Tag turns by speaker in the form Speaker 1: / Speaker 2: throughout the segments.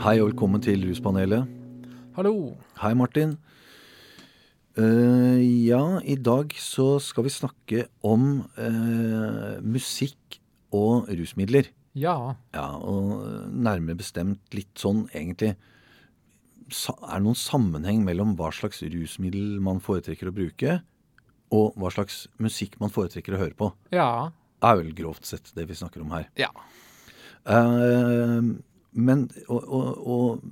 Speaker 1: Hei og velkommen til Ruspanelet.
Speaker 2: Hallo.
Speaker 1: Hei, Martin. Eh, ja, i dag så skal vi snakke om eh, musikk og rusmidler.
Speaker 2: Ja.
Speaker 1: Ja, og nærmere bestemt litt sånn egentlig sa- Er det noen sammenheng mellom hva slags rusmiddel man foretrekker å bruke, og hva slags musikk man foretrekker å høre på?
Speaker 2: Ja.
Speaker 1: Det er vel grovt sett det vi snakker om her.
Speaker 2: Ja.
Speaker 1: Eh, men og, og, og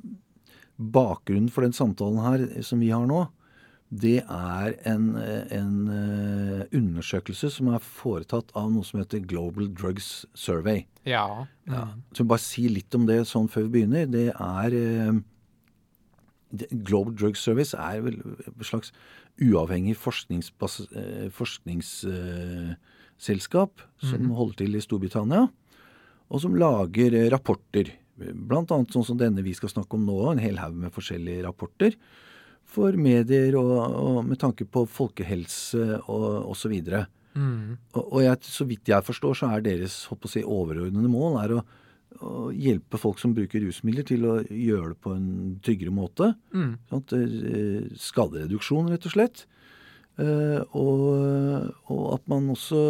Speaker 1: bakgrunnen for den samtalen her som vi har nå, det er en, en eh, undersøkelse som er foretatt av noe som heter Global Drugs Survey.
Speaker 2: Ja.
Speaker 1: Ja. Mm. Så bare si litt om det sånn før vi begynner. Det er eh, det, Global Drug Service er vel et slags uavhengig forskningsselskap forskningsselskap som holder til i Storbritannia, og som lager eh, rapporter. Blant annet sånn som denne vi skal snakke om nå, en hel haug med forskjellige rapporter for medier og, og med tanke på folkehelse og osv. videre.
Speaker 2: Mm.
Speaker 1: Og, og jeg, så vidt jeg forstår, så er deres holdt på å si, overordnede mål er å, å hjelpe folk som bruker rusmidler, til å gjøre det på en tryggere måte.
Speaker 2: Mm.
Speaker 1: Sant? Eh, Skadereduksjon, rett og slett. Eh, Og, og at man også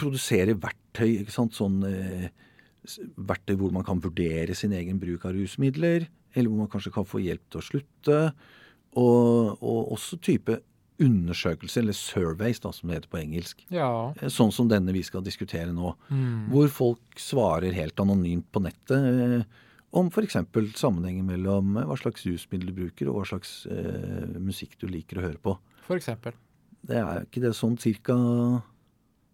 Speaker 1: produserer verktøy. Ikke sant? Sånn, eh, s- verktøy hvor man kan vurdere sin egen bruk av rusmidler. Eller hvor man kanskje kan få hjelp til å slutte. Og, og også type undersøkelser, eller surveys, da, som det heter på engelsk.
Speaker 2: Ja.
Speaker 1: Eh, Sånn som denne vi skal diskutere nå.
Speaker 2: Mm.
Speaker 1: Hvor folk svarer helt anonymt på nettet eh, om f.eks. sammenhengen mellom eh, hva slags rusmiddel du bruker, og hva slags eh, musikk du liker å høre på.
Speaker 2: For eksempel.
Speaker 1: Det er ikke det sånn cirka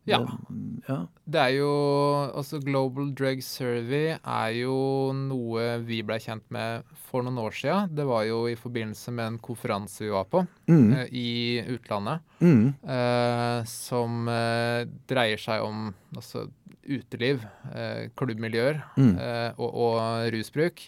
Speaker 2: Ja.
Speaker 1: Det- ja.
Speaker 2: Det er jo Altså, Global Drug Survey er jo noe vi ble kjent med for noen år siden. Det var jo i forbindelse med en konferanse vi var på
Speaker 1: Mm,
Speaker 2: eh, i utlandet,
Speaker 1: mm,
Speaker 2: eh, som eh, dreier seg om altså uteliv, eh, klubbmiljøer
Speaker 1: mm,
Speaker 2: eh, og, og rusbruk.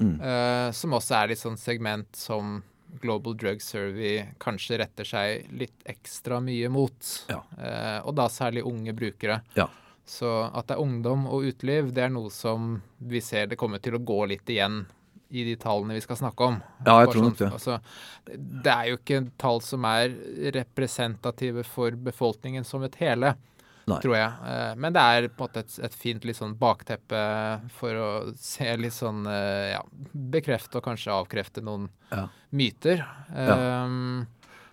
Speaker 1: mm.
Speaker 2: Eh, som også er litt sånn segment som Global Drug Survey kanskje retter seg litt ekstra mye mot.
Speaker 1: Ja.
Speaker 2: Eh, og da særlig unge brukere.
Speaker 1: Ja.
Speaker 2: Så at det er ungdom og uteliv, det er noe som vi ser det kommer til å gå litt igjen i de tallene vi skal snakke om.
Speaker 1: Ja, jeg
Speaker 2: Bare
Speaker 1: tror nok
Speaker 2: sånn-
Speaker 1: det.
Speaker 2: Altså, det er jo ikke tall som er representative for befolkningen som et hele,
Speaker 1: Nei.
Speaker 2: tror jeg. Eh, Men det er på en måte et, et fint litt sånn bakteppe for å se litt sånn eh, ja, Bekrefte og kanskje avkrefte noen
Speaker 1: Ja.
Speaker 2: myter. Ehm,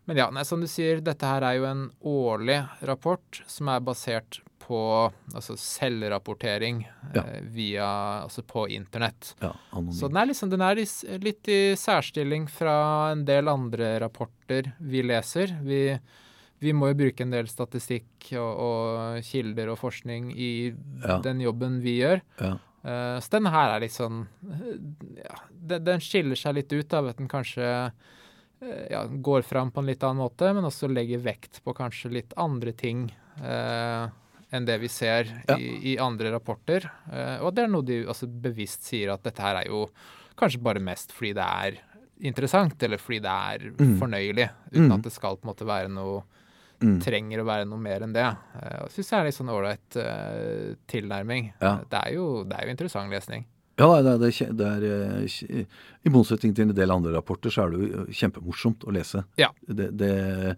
Speaker 2: Men ja, nei, som du sier, dette her er jo en årlig rapport som er basert på altså selvrapportering
Speaker 1: Ja.
Speaker 2: eh, via, altså på internett.
Speaker 1: ja anonym.
Speaker 2: Så den er, liksom, den er i s- litt i særstilling fra en del andre rapporter vi leser. Vi, vi må jo bruke en del statistikk og, og kilder og forskning i
Speaker 1: Ja.
Speaker 2: den jobben vi gjør.
Speaker 1: Ja.
Speaker 2: Eh, så den her er litt sånn eh, ja, den, den skiller seg litt ut av at den kanskje eh, ja, går fram på en litt annen måte, men også legger vekt på kanskje litt andre ting eh, enn det vi ser
Speaker 1: Ja.
Speaker 2: i, i andre rapporter. Eh, og det er noe de altså, bevisst sier at dette her er jo kanskje bare mest fordi det er interessant, eller fordi det er
Speaker 1: Mm.
Speaker 2: fornøyelig, uten
Speaker 1: Mm.
Speaker 2: at det skal på en måte være noe
Speaker 1: Mm.
Speaker 2: trenger å være noe mer enn det. Eh, og Syns jeg er litt sånn ålreit eh, tilnærming. Eh,
Speaker 1: Ja.
Speaker 2: Det, er jo, det er jo interessant lesning.
Speaker 1: Ja, nei, det er, det er, kje- det er eh, kje- I motsetning til en del andre rapporter, så er det jo kjempemorsomt å lese.
Speaker 2: Ja.
Speaker 1: Det, det,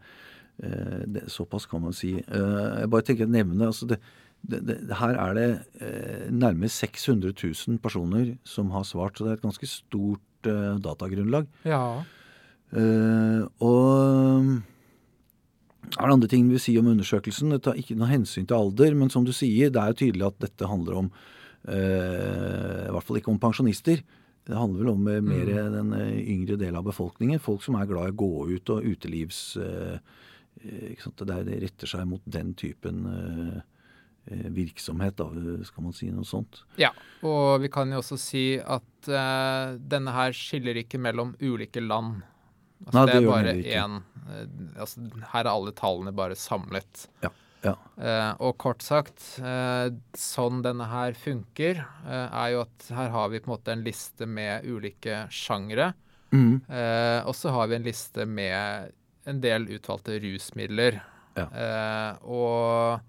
Speaker 1: eh, det, såpass kan man si. Eh, Jeg bare tenker å nevne altså det, det, det, Her er det eh, nærmere 600 000 personer som har svart, så det er et ganske stort eh, datagrunnlag.
Speaker 2: Ja.
Speaker 1: Eh, og er det andre ting vi vil si om undersøkelsen? Det tar ikke noe hensyn til alder, men som du sier, det er jo tydelig at dette handler om eh, I hvert fall ikke om pensjonister. Det handler vel om eh, mer den eh, yngre delen av befolkningen. Folk som er glad i å gå ut og utelivs eh, eh, ikke sant? Det, er, det retter seg mot den typen eh, eh, virksomhet, da, skal man si noe sånt.
Speaker 2: ja. Og vi kan jo også si at eh, denne her skiller ikke mellom ulike land. Altså,
Speaker 1: Nei,
Speaker 2: det,
Speaker 1: det
Speaker 2: er
Speaker 1: gjør
Speaker 2: bare
Speaker 1: den
Speaker 2: én eh, altså, Her er alle tallene bare samlet.
Speaker 1: Ja, ja.
Speaker 2: Eh, og kort sagt, eh, sånn denne her funker, eh, er jo at her har vi på en måte en liste med ulike sjangre.
Speaker 1: Mm,
Speaker 2: Eh, og så har vi en liste med en del utvalgte rusmidler.
Speaker 1: Ja.
Speaker 2: Eh, og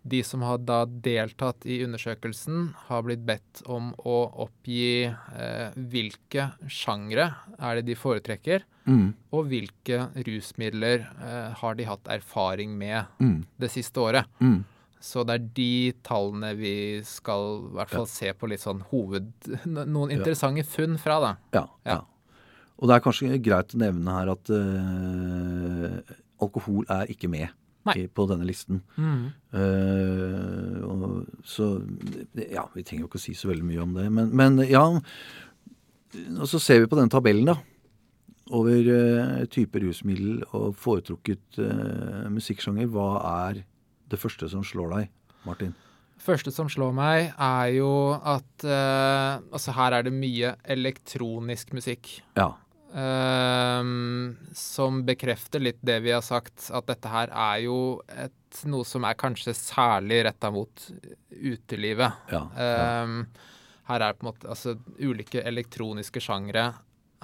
Speaker 2: de som har da deltatt i undersøkelsen, har blitt bedt om å oppgi eh, hvilke sjangre er det de foretrekker,
Speaker 1: Mm.
Speaker 2: og hvilke rusmidler eh, har de hatt erfaring med
Speaker 1: Mm.
Speaker 2: det siste året.
Speaker 1: Mm.
Speaker 2: Så det er de tallene vi skal i hvert fall se på litt sånn hoved... Noen interessante funn fra, da.
Speaker 1: Ja,
Speaker 2: Ja.
Speaker 1: ja. Og det er kanskje greit å nevne her at eh, alkohol er ikke med
Speaker 2: Nei.
Speaker 1: i- på denne listen. Eh, og, så ja, vi trenger jo ikke å si så veldig mye om det. Men, men ja, og så ser vi på denne tabellen da, over eh, typer rusmiddel og foretrukket eh, musikksjanger. Hva er det første som slår deg, Martin?
Speaker 2: første som slår meg, er jo at eh, Altså, her er det mye elektronisk musikk.
Speaker 1: Ja,
Speaker 2: eh, som bekrefter litt det vi har sagt, at dette her er jo et, noe som er kanskje særlig retta mot utelivet.
Speaker 1: ja, ja.
Speaker 2: Eh, her er på en måte Altså, ulike elektroniske sjangre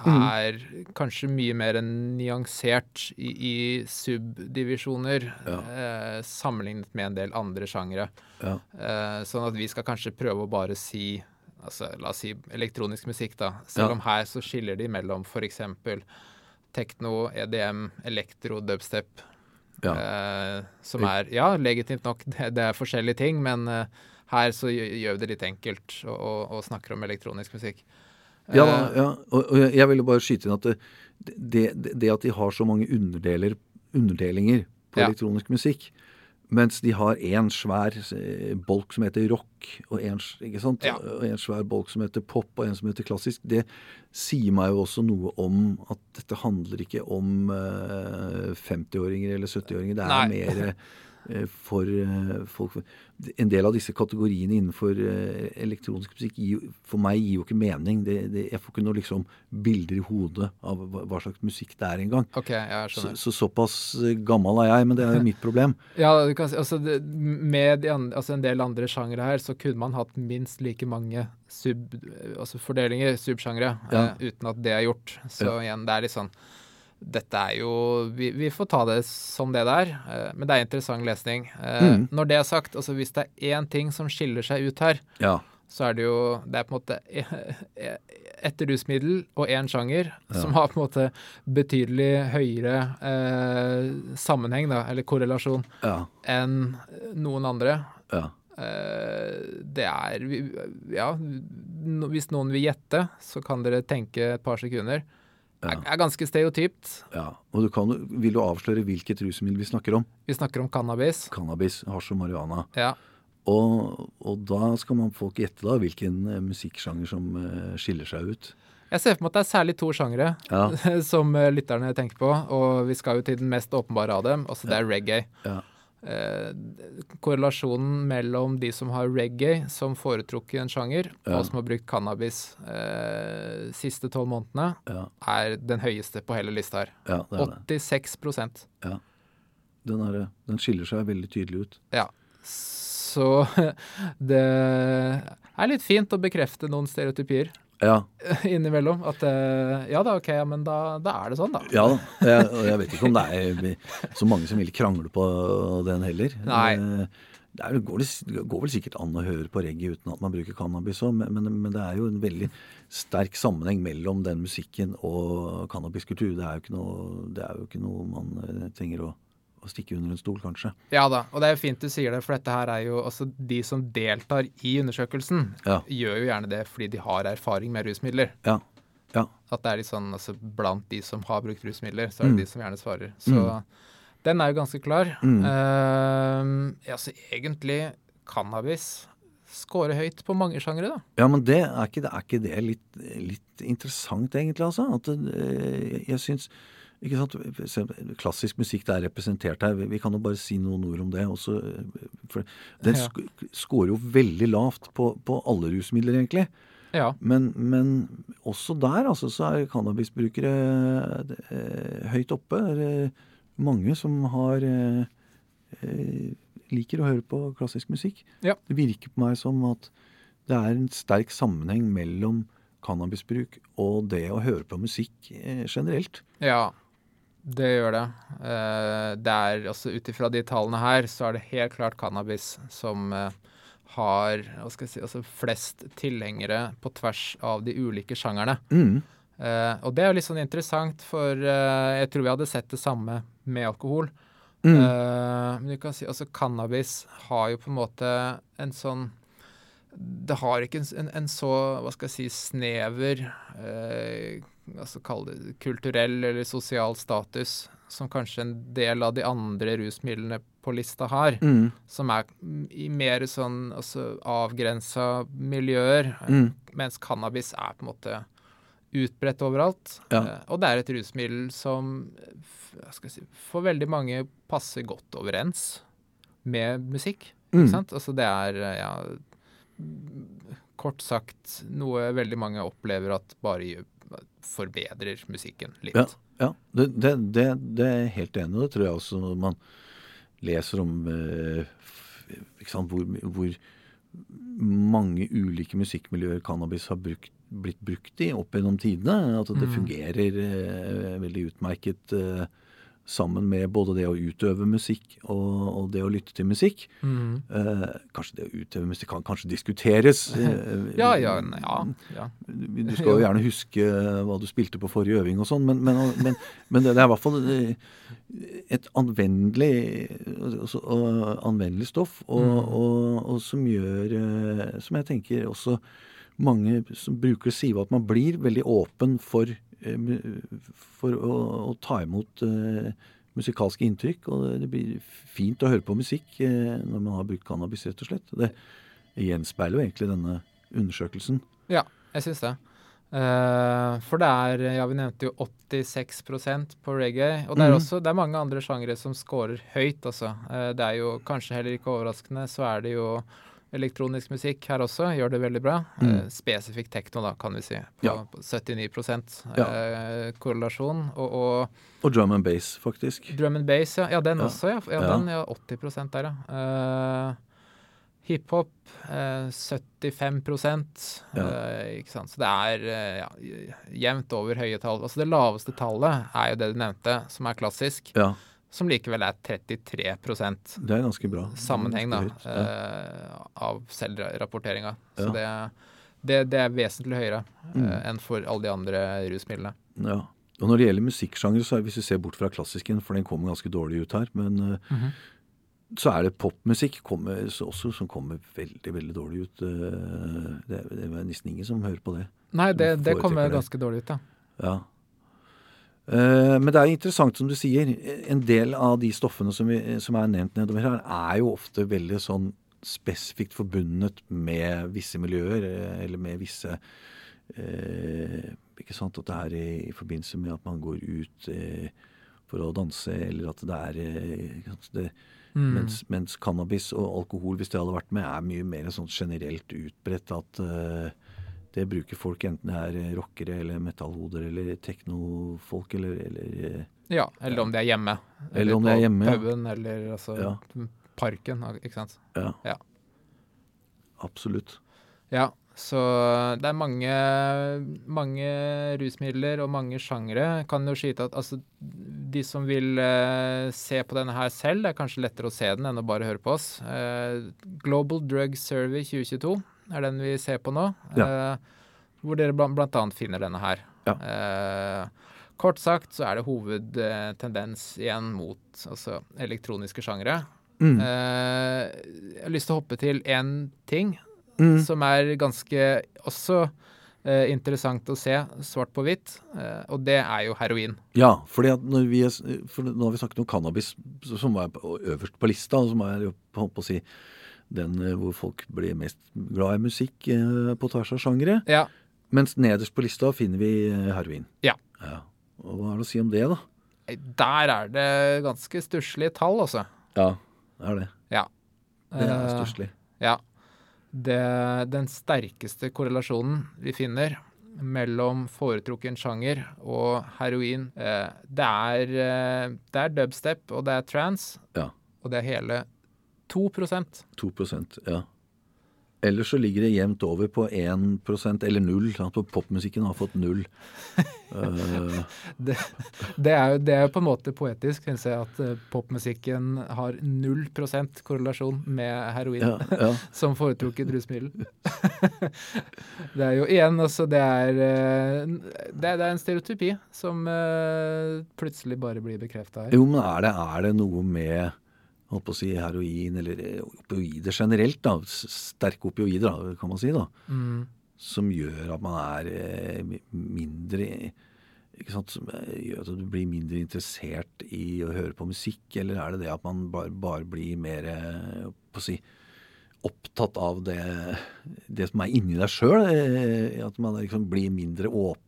Speaker 2: er kanskje mye mer enn nyansert i, i subdivisjoner
Speaker 1: Ja.
Speaker 2: eh, sammenlignet med en del andre sjangre.
Speaker 1: ja.
Speaker 2: Eh, sånn at vi skal kanskje prøve å bare si altså, La oss si elektronisk musikk, da. Selv
Speaker 1: Ja.
Speaker 2: om her så skiller de mellom f.eks. tekno, EDM, E elektro, dubstep.
Speaker 1: Ja.
Speaker 2: eh, som er Ja, legitimt nok, det, det er forskjellige ting, men eh, her så gjø- gjør vi det litt enkelt og, og, og snakker om elektronisk musikk.
Speaker 1: Ja, da,
Speaker 2: Eh,
Speaker 1: ja. Og, og jeg- jeg ville bare skyte inn at det, det, det at de har så mange underdeler, underdelinger på
Speaker 2: Ja.
Speaker 1: elektronisk musikk, mens de har én svær eh, bolk som heter rock, og én ikke sant?
Speaker 2: Ja.
Speaker 1: Og en svær bolk som heter pop, og en som heter klassisk, det sier meg jo også noe om at dette handler ikke om eh, 50-åringer eller 70-åringer. Det
Speaker 2: Nei.
Speaker 1: er mer eh, for eh, folk En del av disse kategoriene innenfor eh, elektronisk musikk gir, jo- for meg gir jo ikke mening. Det, det, jeg får ikke noe liksom bilder i hodet av hva, hva slags musikk det er engang.
Speaker 2: OK, ja, jeg
Speaker 1: Så,
Speaker 2: skjønner.
Speaker 1: så såpass eh, gammel er jeg, men det er jo mitt problem.
Speaker 2: Ja, du kan, si- altså, det, med de andre, altså en del andre sjangre her, så kunne man hatt minst like mange sub, altså fordelinger, subsjangre,
Speaker 1: Ja.
Speaker 2: eh, uten at det er gjort. Så igjen, det er litt sånn Dette er jo Vi, vi får ta det som det der, eh, men det er interessant lesning. Eh,
Speaker 1: Mm.
Speaker 2: Når det er sagt, altså hvis det er én ting som skiller seg ut her,
Speaker 1: Ja.
Speaker 2: så er det jo Det er på en måte eh, ett rusmiddel og én sjanger som har på en måte betydelig høyere eh, sammenheng, da, eller korrelasjon
Speaker 1: Ja.
Speaker 2: enn noen andre.
Speaker 1: Ja.
Speaker 2: Eh, Det er vi- Ja, no- hvis noen vil gjette, så kan dere tenke et par sekunder. Det
Speaker 1: Ja.
Speaker 2: er- er ganske stereotypt.
Speaker 1: ja. Og du kan, vil du avsløre hvilket rusmiddel vi snakker om?
Speaker 2: Vi snakker om cannabis.
Speaker 1: Cannabis, hasj og marihuana.
Speaker 2: Ja.
Speaker 1: Og, og da skal man folk gjette da hvilken eh, musikksjanger som eh, skiller seg ut.
Speaker 2: Jeg ser for meg at det er særlig to sjangre
Speaker 1: Ja.
Speaker 2: som eh, lytterne tenker på, og vi skal jo til den mest åpenbare av dem. Altså, det er reggae.
Speaker 1: Ja.
Speaker 2: Eh, korrelasjonen mellom de som har reggae som foretrukken sjanger,
Speaker 1: Ja.
Speaker 2: og som har brukt cannabis eh, siste tolv månedene,
Speaker 1: Ja,
Speaker 2: er den høyeste på hele lista her.
Speaker 1: ja det er det.
Speaker 2: 86
Speaker 1: Den, er, det. den skiller seg veldig tydelig ut.
Speaker 2: Ja. Så det er litt fint å bekrefte noen stereotypier
Speaker 1: Ja,
Speaker 2: innimellom. At eh, ja da, ok, ja, men da, da er det sånn, da.
Speaker 1: ja da. Jeg, og jeg vet ikke om det er så mange som vil krangle på den heller.
Speaker 2: Nei.
Speaker 1: Eh, Det, er, det går, det s- det går vel sikkert an å høre på reggae uten at man bruker cannabis òg, men, men, men det er jo en veldig sterk sammenheng mellom den musikken og cannabiskultur. Det er jo ikke noe, det er jo ikke noe man eh, trenger å, å stikke under en stol, kanskje.
Speaker 2: Ja da, og det er jo fint du sier det, for dette her er jo altså de som deltar i undersøkelsen,
Speaker 1: Ja.
Speaker 2: gjør jo gjerne det fordi de har erfaring med rusmidler.
Speaker 1: Ja. Ja.
Speaker 2: At det er litt sånn altså blant de som har brukt rusmidler, så er det de som gjerne svarer. Så den er jo ganske klar. Ehm, ja, så egentlig cannabis scorer høyt på mange sjangre, da.
Speaker 1: Ja, men det er ikke, det er ikke det litt, litt interessant, egentlig, altså? At eh, jeg syns ikke sant, se, Klassisk musikk det er representert her. Vi, vi kan jo bare si noen ord om det. Også, eh, for den
Speaker 2: Ja.
Speaker 1: sk scorer jo veldig lavt på, på alle rusmidler, egentlig.
Speaker 2: Ja.
Speaker 1: Men, men også der altså, så er cannabisbrukere eh, høyt oppe. Det er eh, mange som har eh, eh, liker å høre på klassisk musikk.
Speaker 2: Ja.
Speaker 1: Det virker på meg som at det er en sterk sammenheng mellom cannabisbruk og det å høre på musikk eh, generelt.
Speaker 2: ja. Det gjør det. Eh, Det er altså ut ifra de tallene her, så er det helt klart cannabis som eh, har hva skal jeg si, altså flest tilhengere på tvers av de ulike sjangerne.
Speaker 1: Mm.
Speaker 2: Eh, og det er jo litt sånn interessant, for eh, jeg tror vi hadde sett det samme med alkohol.
Speaker 1: Mm.
Speaker 2: Eh, men du kan si altså cannabis har jo på en måte en sånn Det har ikke en, s- en, en så, hva skal jeg si, snever eh, altså Kall det kulturell eller sosial status som kanskje en del av de andre rusmidlene på lista har
Speaker 1: Mm.
Speaker 2: som er mm, i mer sånn altså, avgrensa miljøer,
Speaker 1: Mm.
Speaker 2: mens cannabis er på en måte utbredt overalt.
Speaker 1: Ja.
Speaker 2: Eh, Og det er et rusmiddel som eh, f- hva skal jeg si, for veldig mange passer godt overens med musikk.
Speaker 1: Mm.
Speaker 2: Ikke sant? Altså det er eh, ja, mm, kort sagt noe veldig mange opplever at bare gjør- forbedrer musikken litt.
Speaker 1: Ja, det, det, det, det er jeg helt enig i. Det tror jeg også når man leser om eh, f- ikke sant, hvor, hvor mange ulike musikkmiljøer cannabis har brukt, blitt brukt i opp gjennom tidene. At det
Speaker 2: Mm.
Speaker 1: fungerer eh, veldig utmerket eh, sammen med både det å utøve musikk og, og det å lytte til musikk.
Speaker 2: Mm.
Speaker 1: Eh, kanskje det å utøve musikk kan kanskje diskuteres. eh,
Speaker 2: Ja, ja, nei, ja, ja.
Speaker 1: du du skal jo gjerne huske eh, hva du spilte på forrige øving og sånn, men, men, men, men det, det er i hvert fall eh, et anvendelig, altså, og- anvendelig stoff, og,
Speaker 2: Mm.
Speaker 1: og, og som gjør eh, Som jeg tenker også mange som bruker sier at man blir veldig åpen for, eh, mu- for å, å ta imot eh, musikalske inntrykk. Og det blir fint å høre på musikk eh, når man har brukt cannabis, rett og slett. Det gjenspeiler jo egentlig denne undersøkelsen.
Speaker 2: Ja, jeg syns det. Eh, for det er ja, vi nevnte jo 86 på reggae. Og det er
Speaker 1: Mhm.
Speaker 2: også det er mange andre sjangere som scorer høyt, altså. Eh, det er jo kanskje heller ikke overraskende, så er det jo elektronisk musikk her også. Gjør det veldig bra. Eh,
Speaker 1: Mhm.
Speaker 2: spesifikt tekno, da, kan vi si. På,
Speaker 1: Ja.
Speaker 2: på 79
Speaker 1: Ja.
Speaker 2: eh, korrelasjon. Og, og
Speaker 1: Og drum and bass, faktisk.
Speaker 2: drum and bass, ja. ja den
Speaker 1: Ja.
Speaker 2: også, ja. ja,
Speaker 1: Ja.
Speaker 2: Den, ja 80 der, ja. Eh, Hiphop eh, 75
Speaker 1: Ja.
Speaker 2: eh, ikke sant? Så det er eh, ja, jevnt over høye tall. Altså Det laveste tallet er jo det du nevnte, som er klassisk,
Speaker 1: Ja,
Speaker 2: som likevel er 33
Speaker 1: det er ganske bra.
Speaker 2: sammenheng da,
Speaker 1: Ganske høyt, ja.
Speaker 2: eh, av selvrapporteringa.
Speaker 1: Ja.
Speaker 2: Så det, det, det er vesentlig høyere eh,
Speaker 1: Mm.
Speaker 2: enn for alle de andre rusmidlene.
Speaker 1: Ja. Og når det gjelder musikksjanger, så er- hvis vi ser bort fra klassikken, for den kommer ganske dårlig ut her, men eh, så er det popmusikk kommer, så også som kommer veldig, veldig dårlig ut. eh, Det er, det er nesten ingen som hører på det.
Speaker 2: Nei, det,
Speaker 1: Du
Speaker 2: det
Speaker 1: foretrekker
Speaker 2: kommer
Speaker 1: det.
Speaker 2: ganske dårlig ut, ja.
Speaker 1: Ja. Eh, Men det er interessant som du sier. En del av de stoffene som, vi, som er nevnt nedover her, er jo ofte veldig sånn spesifikt forbundet med visse miljøer, eh, eller med visse eh, Ikke sant at det er i, i forbindelse med at man går ut eh, for å danse, eller at det er eh, ikke sant, det,
Speaker 2: Mm.
Speaker 1: mens, mens cannabis og alkohol, hvis det hadde vært med, er mye mer sånn generelt utbredt at eh, det bruker folk enten det er eh, rockere eller metallhoder eller teknofolk eller, eller eh,
Speaker 2: Ja, eller om de er hjemme.
Speaker 1: Eller om de er
Speaker 2: på
Speaker 1: hjemme, ja.
Speaker 2: puben, eller altså parken, ikke sant.
Speaker 1: ja,
Speaker 2: Ja.
Speaker 1: absolutt.
Speaker 2: Ja, så det er mange, mange rusmidler og mange sjangre. Kan jo skyte at altså, de som vil eh, se på denne her selv, det er kanskje lettere å se den enn å bare høre på oss. Eh, Global Drug Survey 2022 er den vi ser på nå, eh, hvor dere blant, blant annet finner denne her.
Speaker 1: Ja.
Speaker 2: Eh, kort sagt så er det hovedtendens igjen mot altså, elektroniske sjangre.
Speaker 1: Mm,
Speaker 2: Eh, jeg har lyst til å hoppe til én ting
Speaker 1: mm,
Speaker 2: som er ganske også eh, interessant å se svart på hvitt, eh, og det er jo heroin.
Speaker 1: ja, fordi at når vi, er s- for nå har vi snakket om cannabis, så- som var på- øverst på lista, og som er jo, på- holdt på å si, den eh, hvor folk blir mest glad i musikk eh, på tvers av sjangere.
Speaker 2: Ja,
Speaker 1: Mens nederst på lista finner vi eh, heroin.
Speaker 2: Ja.
Speaker 1: Og hva er det å si om det, da?
Speaker 2: der er det ganske stusslige tall, altså.
Speaker 1: Ja. Det er det. Det er
Speaker 2: Eh,
Speaker 1: stusslig.
Speaker 2: Ja. Det, den sterkeste korrelasjonen vi finner mellom foretrukken sjanger og heroin, eh, det, er, eh, det er dubstep, og det er trans,
Speaker 1: Ja.
Speaker 2: og det er hele 2
Speaker 1: 2 ja. Ellers så ligger det jevnt over på 1 eller null. sant? På popmusikken har fått null. Eh,
Speaker 2: Det, det, er jo, det er jo på en måte poetisk, syns jeg, at eh, popmusikken har 0 korrelasjon med heroin
Speaker 1: ja, ja.
Speaker 2: som foretrukket rusmiddel. det er jo igjen, altså det er, eh, det, er- det er en stereotypi som eh, plutselig bare blir bekrefta her.
Speaker 1: Jo, men er det, er det noe med holdt på å si, heroin eller eh, opioider generelt, da, s- sterke opioider, da, kan man si, da,
Speaker 2: Mm.
Speaker 1: som gjør at man er eh, mi- mindre ikke sant, Som eh, gjør at du blir mindre interessert i å høre på musikk, eller er det det at man bare, bare blir mer eh, holdt på å si, opptatt av det, det som er inni deg sjøl? At man liksom blir mindre åpen?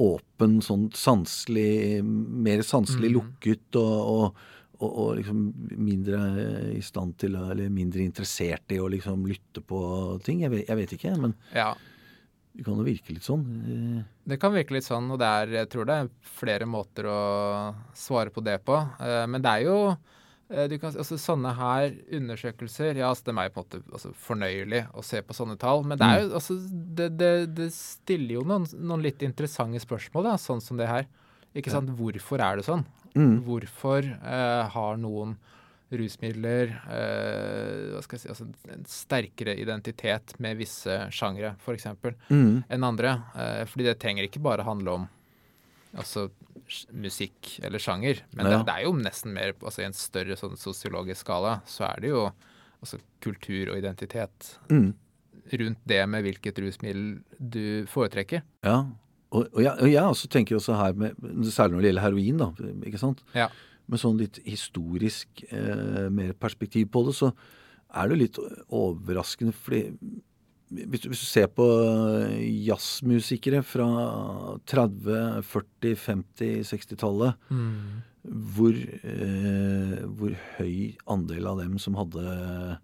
Speaker 1: åpen, sånn sanselig Mer sanselig
Speaker 2: Mhm.
Speaker 1: lukket og, og, og, og liksom mindre i stand til å- Eller mindre interessert i å liksom lytte på ting. Jeg vet, jeg vet ikke, men
Speaker 2: Ja.
Speaker 1: det kan jo virke litt sånn. Eh,
Speaker 2: Det kan virke litt sånn, og det er, jeg tror det er flere måter å svare på det på. Eh, Men det er jo eh, du kan, altså, Sånne her undersøkelser ja, altså, Det er meg på en måte altså, fornøyelig å se på sånne tall, men det, er jo, altså, det, det, det stiller jo noen, noen litt interessante spørsmål, da, sånn som det her. Ikke sant? Hvorfor er det sånn?
Speaker 1: Mm.
Speaker 2: Hvorfor eh, har noen rusmidler eh, hva skal jeg si, altså, en sterkere identitet med visse sjangre, f.eks.?
Speaker 1: Mm.
Speaker 2: enn andre. eh, Fordi det trenger ikke bare handle om altså, sj- musikk eller sjanger. Men
Speaker 1: Ja.
Speaker 2: det, det er jo nesten mer altså, I en større sånn sosiologisk skala så er det jo altså, kultur og identitet
Speaker 1: Mm.
Speaker 2: rundt det med hvilket rusmiddel du foretrekker.
Speaker 1: Ja. Og, og, jeg, og jeg også tenker også her, med, særlig når det gjelder heroin, da, ikke sant?
Speaker 2: Ja.
Speaker 1: Med sånn litt historisk eh, mer perspektiv på det, så er det jo litt overraskende, fordi hvis, du- hvis du ser på jazzmusikere fra 30-, 40-, 50-, 60-tallet,
Speaker 2: Mm.
Speaker 1: hvor, eh, hvor høy andel av dem som hadde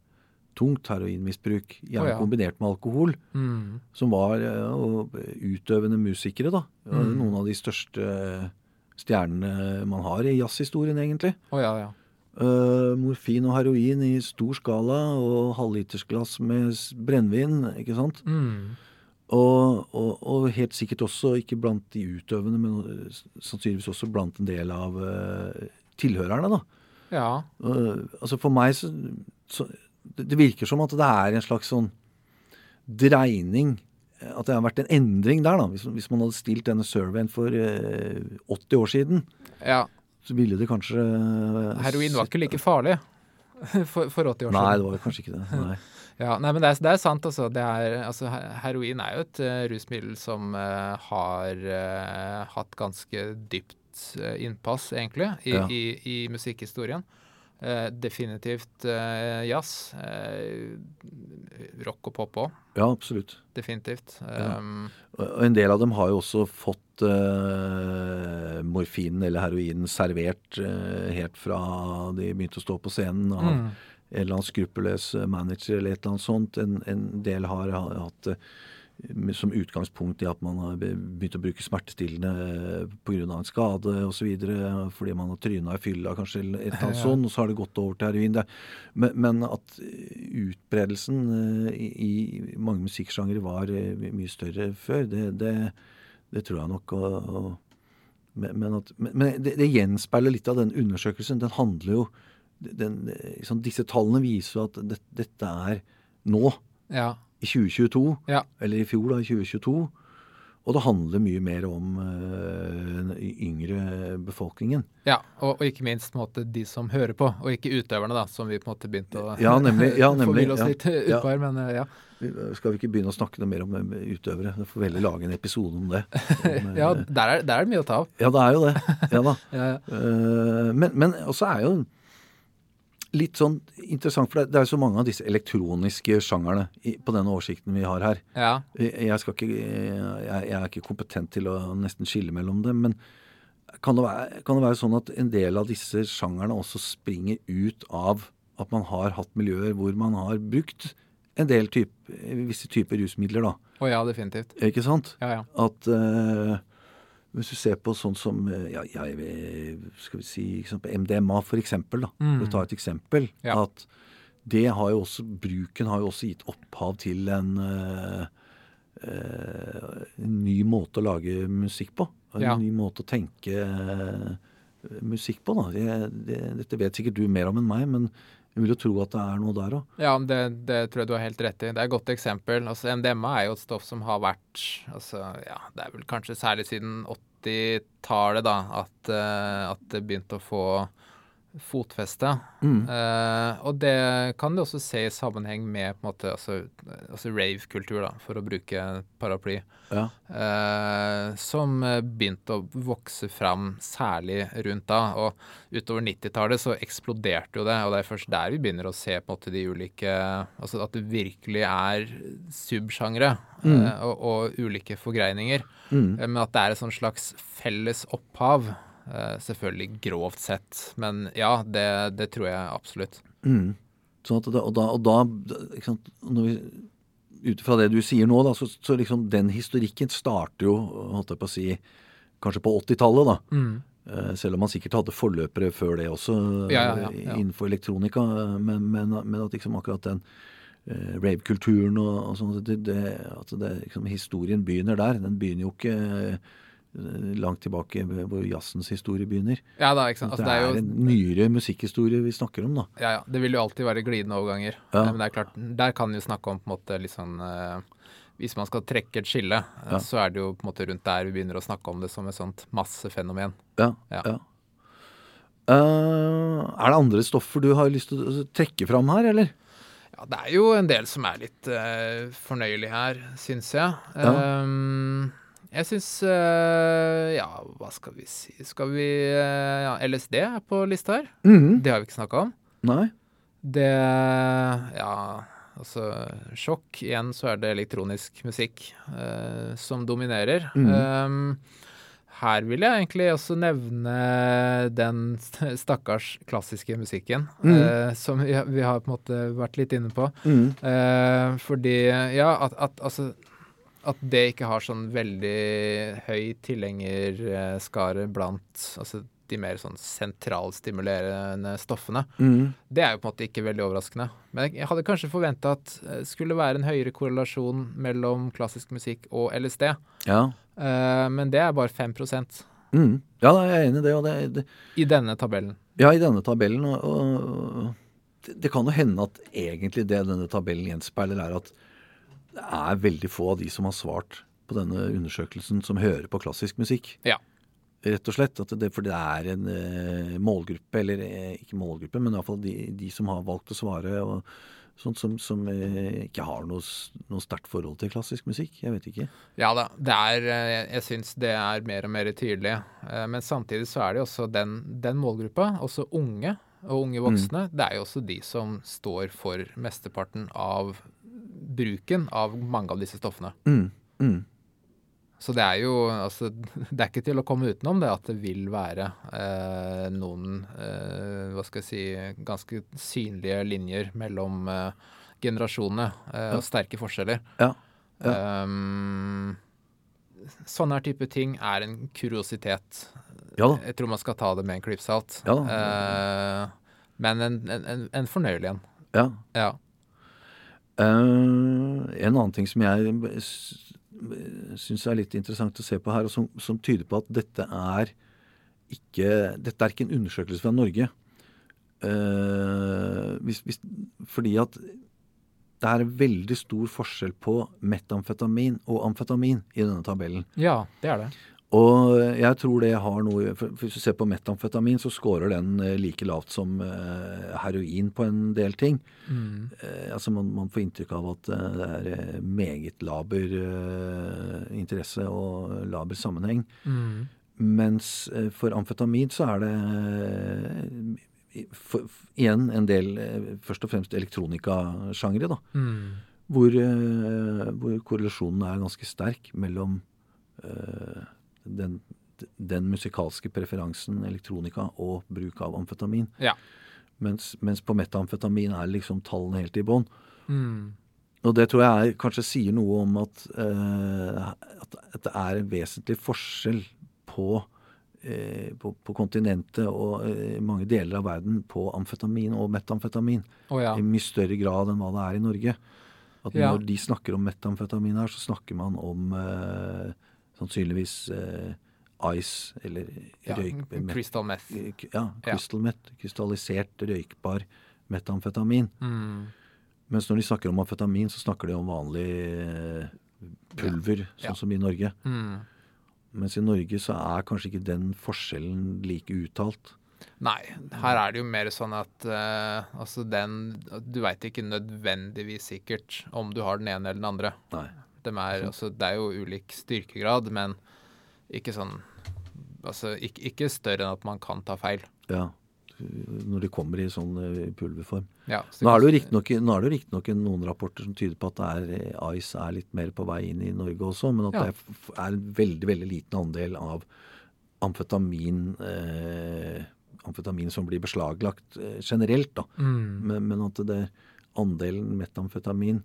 Speaker 1: tungt heroinmisbruk, gjerne
Speaker 2: Å, ja.
Speaker 1: kombinert med alkohol,
Speaker 2: Mm.
Speaker 1: som var eh, og utøvende musikere, da. Og
Speaker 2: Mm.
Speaker 1: Noen av de største stjernene man har i jazzhistorien, egentlig.
Speaker 2: Å ja, ja.
Speaker 1: Eh, morfin og heroin i stor skala og halvlitersglass med s- brennevin, ikke sant?
Speaker 2: Mm.
Speaker 1: Og, og, og helt sikkert også, ikke blant de utøvende, men eh, s- sannsynligvis også blant en del av eh, tilhørerne, da.
Speaker 2: Ja.
Speaker 1: Øh, altså for meg så, så det, det virker som at det er en slags sånn dreining eh, At det har vært en endring der, da. Hvis, hvis man hadde stilt denne surveyen for eh, 80 år siden,
Speaker 2: ja.
Speaker 1: så ville det kanskje eh,
Speaker 2: Heroin var ikke like farlig for, for 80 år siden.
Speaker 1: Nei, det var kanskje ikke det. Nei.
Speaker 2: Ja, nei, men det er, det er sant, altså. Det er, altså. he- Heroin er jo et eh, rusmiddel som eh, har eh, hatt ganske dypt eh, innpass, egentlig, i,
Speaker 1: Ja.
Speaker 2: i, i musikkhistorien. Eh, definitivt eh, jazz. eh, rock og pop òg,
Speaker 1: Ja, absolutt.
Speaker 2: definitivt.
Speaker 1: Ja.
Speaker 2: Um,
Speaker 1: Og- Og en del av dem har jo også fått eh, morfinen eller heroinen servert eh, helt fra de begynte å stå på scenen. av
Speaker 2: mm,
Speaker 1: en eller annen skruppelløs manager eller et eller annet sånt. En, en del har ha- hatt det som utgangspunkt i at man har be- begynt å bruke smertestillende eh, pga. en skade osv. Fordi man har tryna i fylla kanskje, eller et eller annet
Speaker 2: Ja.
Speaker 1: sånt, og så har det gått over til heroin. Det, men, men at utbredelsen eh, i, i mange musikksjangre var eh, my- mye større før, det, det, det tror jeg nok. Og, og, men men, at, men, men det, det gjenspeiler litt av den undersøkelsen. Den handler jo den, liksom, disse tallene viser jo at det, dette er nå,
Speaker 2: ja.
Speaker 1: i 2022,
Speaker 2: Ja.
Speaker 1: eller i fjor, da, i 2022. Og det handler mye mer om eh, den yngre befolkningen.
Speaker 2: ja. Og, og ikke minst på en måte, de som hører på, og ikke utøverne, da, som vi på en måte begynte å
Speaker 1: Ja, nemlig, ja, nemlig,
Speaker 2: forville oss
Speaker 1: ja.
Speaker 2: litt
Speaker 1: Ja.
Speaker 2: utpå her, men eh, ja.
Speaker 1: Vi- Skal vi ikke begynne å snakke noe mer om eh, utøvere? Vi får veldig lage en episode om det. Om, eh,
Speaker 2: ja der, er, der er det mye å ta av.
Speaker 1: ja, det er jo det. Ja da.
Speaker 2: Ja, ja.
Speaker 1: Eh, men, men også er jo litt sånn interessant, for det, det er jo så mange av disse elektroniske sjangerne i, på denne oversikten vi har her.
Speaker 2: ja.
Speaker 1: Jeg, skal ikke, jeg, jeg er ikke kompetent til å nesten skille mellom dem, men kan det, være, kan det være sånn at en del av disse sjangerne også springer ut av at man har hatt miljøer hvor man har brukt en del typ, visse typer rusmidler, da.
Speaker 2: Å ja, definitivt.
Speaker 1: Ikke sant?
Speaker 2: Ja, ja.
Speaker 1: At eh, hvis du ser på sånn som eh, ja, jeg, vil- skal vi si, ikke sant, på MDMA, for eksempel, da, for å ta et eksempel,
Speaker 2: Mm. Ja.
Speaker 1: at det har jo også, bruken har jo også gitt opphav til en eh, eh, en ny måte å lage musikk på. En
Speaker 2: Ja.
Speaker 1: ny måte å tenke eh, musikk på. Da. Det, det, dette vet sikkert du mer om enn meg, men jeg vil jo tro at det er noe der òg.
Speaker 2: Ja, men det, det tror jeg du har helt rett i. Det er et godt eksempel. Altså, MDMA er jo et stoff som har vært altså, ja, Det er vel kanskje særlig siden 80-tallet da, at, eh, at det begynte å få fotfeste.
Speaker 1: Mm.
Speaker 2: Eh, og det kan du også se i sammenheng med på en måte, altså, altså rave-kultur, da, for å bruke paraply,
Speaker 1: Ja.
Speaker 2: eh, som eh, begynte å vokse fram særlig rundt da. Og utover 90-tallet så eksploderte jo det, og det er først der vi begynner å se på en måte de ulike Altså at det virkelig er subsjangre
Speaker 1: Mm.
Speaker 2: eh, og, og ulike forgreininger.
Speaker 1: Mm.
Speaker 2: Eh, Men at det er et sånn slags felles opphav. eh, Selvfølgelig grovt sett, men ja, det, det tror jeg absolutt.
Speaker 1: Mm. Sånn at det, og da, og da ikke sant, når vi, Ut fra det du sier nå, da, så, så liksom den historikken starter jo holdt jeg på å si, kanskje på 80-tallet. da. Eh, Selv om man sikkert hadde forløpere før det også eh,
Speaker 2: Ja, ja, ja, ja.
Speaker 1: innenfor elektronika. eh, Men, men, men at liksom akkurat den eh, rave-kulturen og, og sånn det, det, at det, liksom, Historien begynner der. Den begynner jo ikke eh, langt tilbake hvor jazzens historie begynner.
Speaker 2: Ja da, ikke sant. Altså,
Speaker 1: det, er
Speaker 2: jo,
Speaker 1: en nyere musikkhistorie vi snakker om, da.
Speaker 2: ja, ja, det vil jo alltid være glidende overganger.
Speaker 1: Ja.
Speaker 2: Eh, Men det er klart, der kan vi jo snakke om på en måte litt sånn eh, Hvis man skal trekke et skille, eh,
Speaker 1: Ja.
Speaker 2: så er det jo på en måte rundt der vi begynner å snakke om det som et sånt massefenomen.
Speaker 1: Ja, ja.
Speaker 2: Ja.
Speaker 1: Eh, er det andre stoffer du har lyst til å trekke fram her, eller?
Speaker 2: Ja, det er jo en del som er litt eh, fornøyelig her, syns jeg.
Speaker 1: Ja.
Speaker 2: Ehm, jeg syns Ja, hva skal vi si Skal vi eh, Ja, LSD er på lista her. Det har vi ikke snakka om.
Speaker 1: Nei?
Speaker 2: Det Ja, altså Sjokk. Igjen så er det elektronisk musikk eh, som dominerer. Ehm, her vil jeg egentlig også nevne den st- stakkars klassiske musikken, eh, som vi, vi har på en måte vært litt inne på. Eh, fordi Ja, at, at altså at det ikke har sånn veldig høy tilhengerskare blant altså, de mer sånn sentralstimulerende stoffene. Det er jo på en måte ikke veldig overraskende. Men jeg hadde kanskje forventa at det skulle være en høyere korrelasjon mellom klassisk musikk og LSD,
Speaker 1: Ja.
Speaker 2: Eh, men det er bare 5 i
Speaker 1: Mm. ja, da, jeg er enig i det. Og det, det
Speaker 2: denne tabellen.
Speaker 1: ja, i denne tabellen og, og det, det kan jo hende at egentlig det denne tabellen gjenspeiler, er at det er veldig få av de som har svart på denne undersøkelsen, som hører på klassisk musikk.
Speaker 2: Ja.
Speaker 1: Rett og slett. At det, for det er en eh, målgruppe, eller eh, ikke målgruppe, men iallfall de, de som har valgt å svare, og sånt som, som eh, ikke har noe, s- noe sterkt forhold til klassisk musikk. Jeg vet ikke.
Speaker 2: Ja da, det er, eh, jeg- jeg syns det er mer og mer tydelig. Eh, Men samtidig så er det jo også den, den målgruppa, også unge og unge voksne, det er jo også de som står for mesteparten av bruken av mange av disse stoffene.
Speaker 1: Mm. Mm.
Speaker 2: Så det er jo altså, Det er ikke til å komme utenom det at det vil være eh, noen eh, Hva skal jeg si Ganske synlige linjer mellom eh, generasjonene eh, og sterke forskjeller.
Speaker 1: Ja.
Speaker 2: Ehm, sånne her type ting er en kuriositet.
Speaker 1: Ja da.
Speaker 2: Jeg tror man skal ta det med en klypsalt.
Speaker 1: Ja
Speaker 2: Eh, men en, en, en- en fornøyelig en.
Speaker 1: Ja.
Speaker 2: Ja.
Speaker 1: Eh, en annen ting som jeg syns er litt interessant å se på her, og som, som tyder på at dette er ikke Dette er ikke en undersøkelse fra Norge. Eh, hvis, hvis, fordi at det er veldig stor forskjell på metamfetamin og amfetamin i denne tabellen.
Speaker 2: ja, det er det.
Speaker 1: Og jeg tror det har noe for for Hvis du ser på metamfetamin, så scorer den eh, like lavt som eh, heroin på en del ting.
Speaker 2: Mm.
Speaker 1: Eh, altså man, man får inntrykk av at eh, det er eh, meget laber eh, interesse og laber sammenheng.
Speaker 2: Mm.
Speaker 1: Mens eh, for amfetamin så er det eh, i- for, igjen en del eh, først og fremst elektronikasjangre, da hvor, eh, hvor korrelasjonen er ganske sterk mellom eh, den, den musikalske preferansen, elektronika, og bruk av amfetamin.
Speaker 2: Ja.
Speaker 1: Mens, mens på metamfetamin er liksom tallene helt i bånn.
Speaker 2: Mm.
Speaker 1: Og det tror jeg er, kanskje sier noe om at, eh, at, at det er en vesentlig forskjell på eh, på, på kontinentet og eh, mange deler av verden på amfetamin og metamfetamin
Speaker 2: Å ja.
Speaker 1: i mye større grad enn hva det er i Norge. At
Speaker 2: Ja.
Speaker 1: Når de snakker om metamfetamin her, så snakker man om eh, sannsynligvis eh, ice eller
Speaker 2: ja.
Speaker 1: røyk... met- eh,
Speaker 2: Crystal meth.
Speaker 1: ja, crystal meth, krystallisert røykbar metamfetamin.
Speaker 2: Mm.
Speaker 1: Mens når de snakker om amfetamin, så snakker de om vanlig eh, pulver,
Speaker 2: Ja.
Speaker 1: sånn som i Norge.
Speaker 2: Mm.
Speaker 1: Mens i Norge så er kanskje ikke den forskjellen like uttalt.
Speaker 2: Nei, her er det jo mer sånn at eh, altså den Du veit ikke nødvendigvis sikkert om du har den ene eller den andre.
Speaker 1: Nei.
Speaker 2: Dem er, altså, det er jo ulik styrkegrad, men ikke sånn Altså ikke, ikke større enn at man kan ta feil.
Speaker 1: Ja. Når de kommer i sånn eh, pulverform.
Speaker 2: Ja, så
Speaker 1: Nå er det jo
Speaker 2: kan-
Speaker 1: riktignok nå er det jo riktignok noen rapporter som tyder på at det er, eh, ICE er litt mer på vei inn i Norge også, men at
Speaker 2: Ja.
Speaker 1: det er f- er en veldig, veldig liten andel av amfetamin, eh, amfetamin som blir beslaglagt eh, generelt, da.
Speaker 2: Mm.
Speaker 1: Men, men at det andelen metamfetamin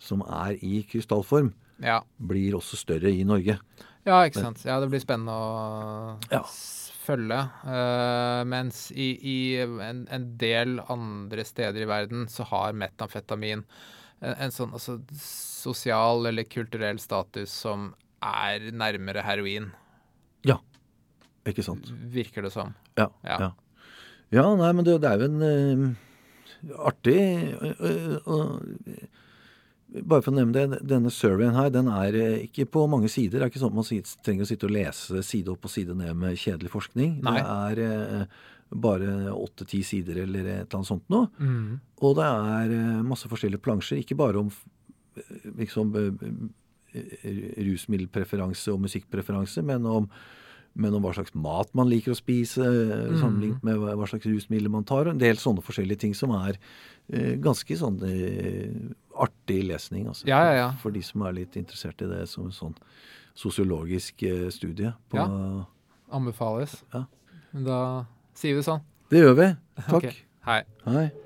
Speaker 1: som er i krystallform,
Speaker 2: Ja.
Speaker 1: blir også større i Norge.
Speaker 2: ja, ikke sant. Ja, det blir spennende å
Speaker 1: Ja.
Speaker 2: s- følge. Eh, mens i, i en, en del andre steder i verden så har metamfetamin en, en sånn altså, sosial eller kulturell status som er nærmere heroin,
Speaker 1: Ikke sant?
Speaker 2: virker det som.
Speaker 1: Ja.
Speaker 2: Ja.
Speaker 1: Ja, ja nei, men det, det er jo en eh, artig eh, eh, og, eh, Bare for å nevne det, denne surveyen her, den er eh, ikke på mange sider. Det er ikke sånn at man sit- trenger å sitte og lese side opp og side ned med kjedelig forskning.
Speaker 2: Nei.
Speaker 1: Det er eh, bare åtte-ti sider eller et eller annet sånt noe. Og det er eh, masse forskjellige plansjer, ikke bare om eh, liksom eh, eh, rusmiddelpreferanse og musikkpreferanse, men om, men om hva slags mat man liker å spise, eh,
Speaker 2: Mm.
Speaker 1: sammenlignet med hva hva slags rusmidler man tar, og en del sånne forskjellige ting som er eh, ganske sånn eh, artig lesning, altså.
Speaker 2: Ja, ja, ja.
Speaker 1: For de som er litt interessert i det som en sånn sosiologisk eh, studie på
Speaker 2: Anbefales.
Speaker 1: Ja.
Speaker 2: Da sier vi det sånn.
Speaker 1: Det gjør vi. Takk.
Speaker 2: Ok. Hei.
Speaker 1: Hei.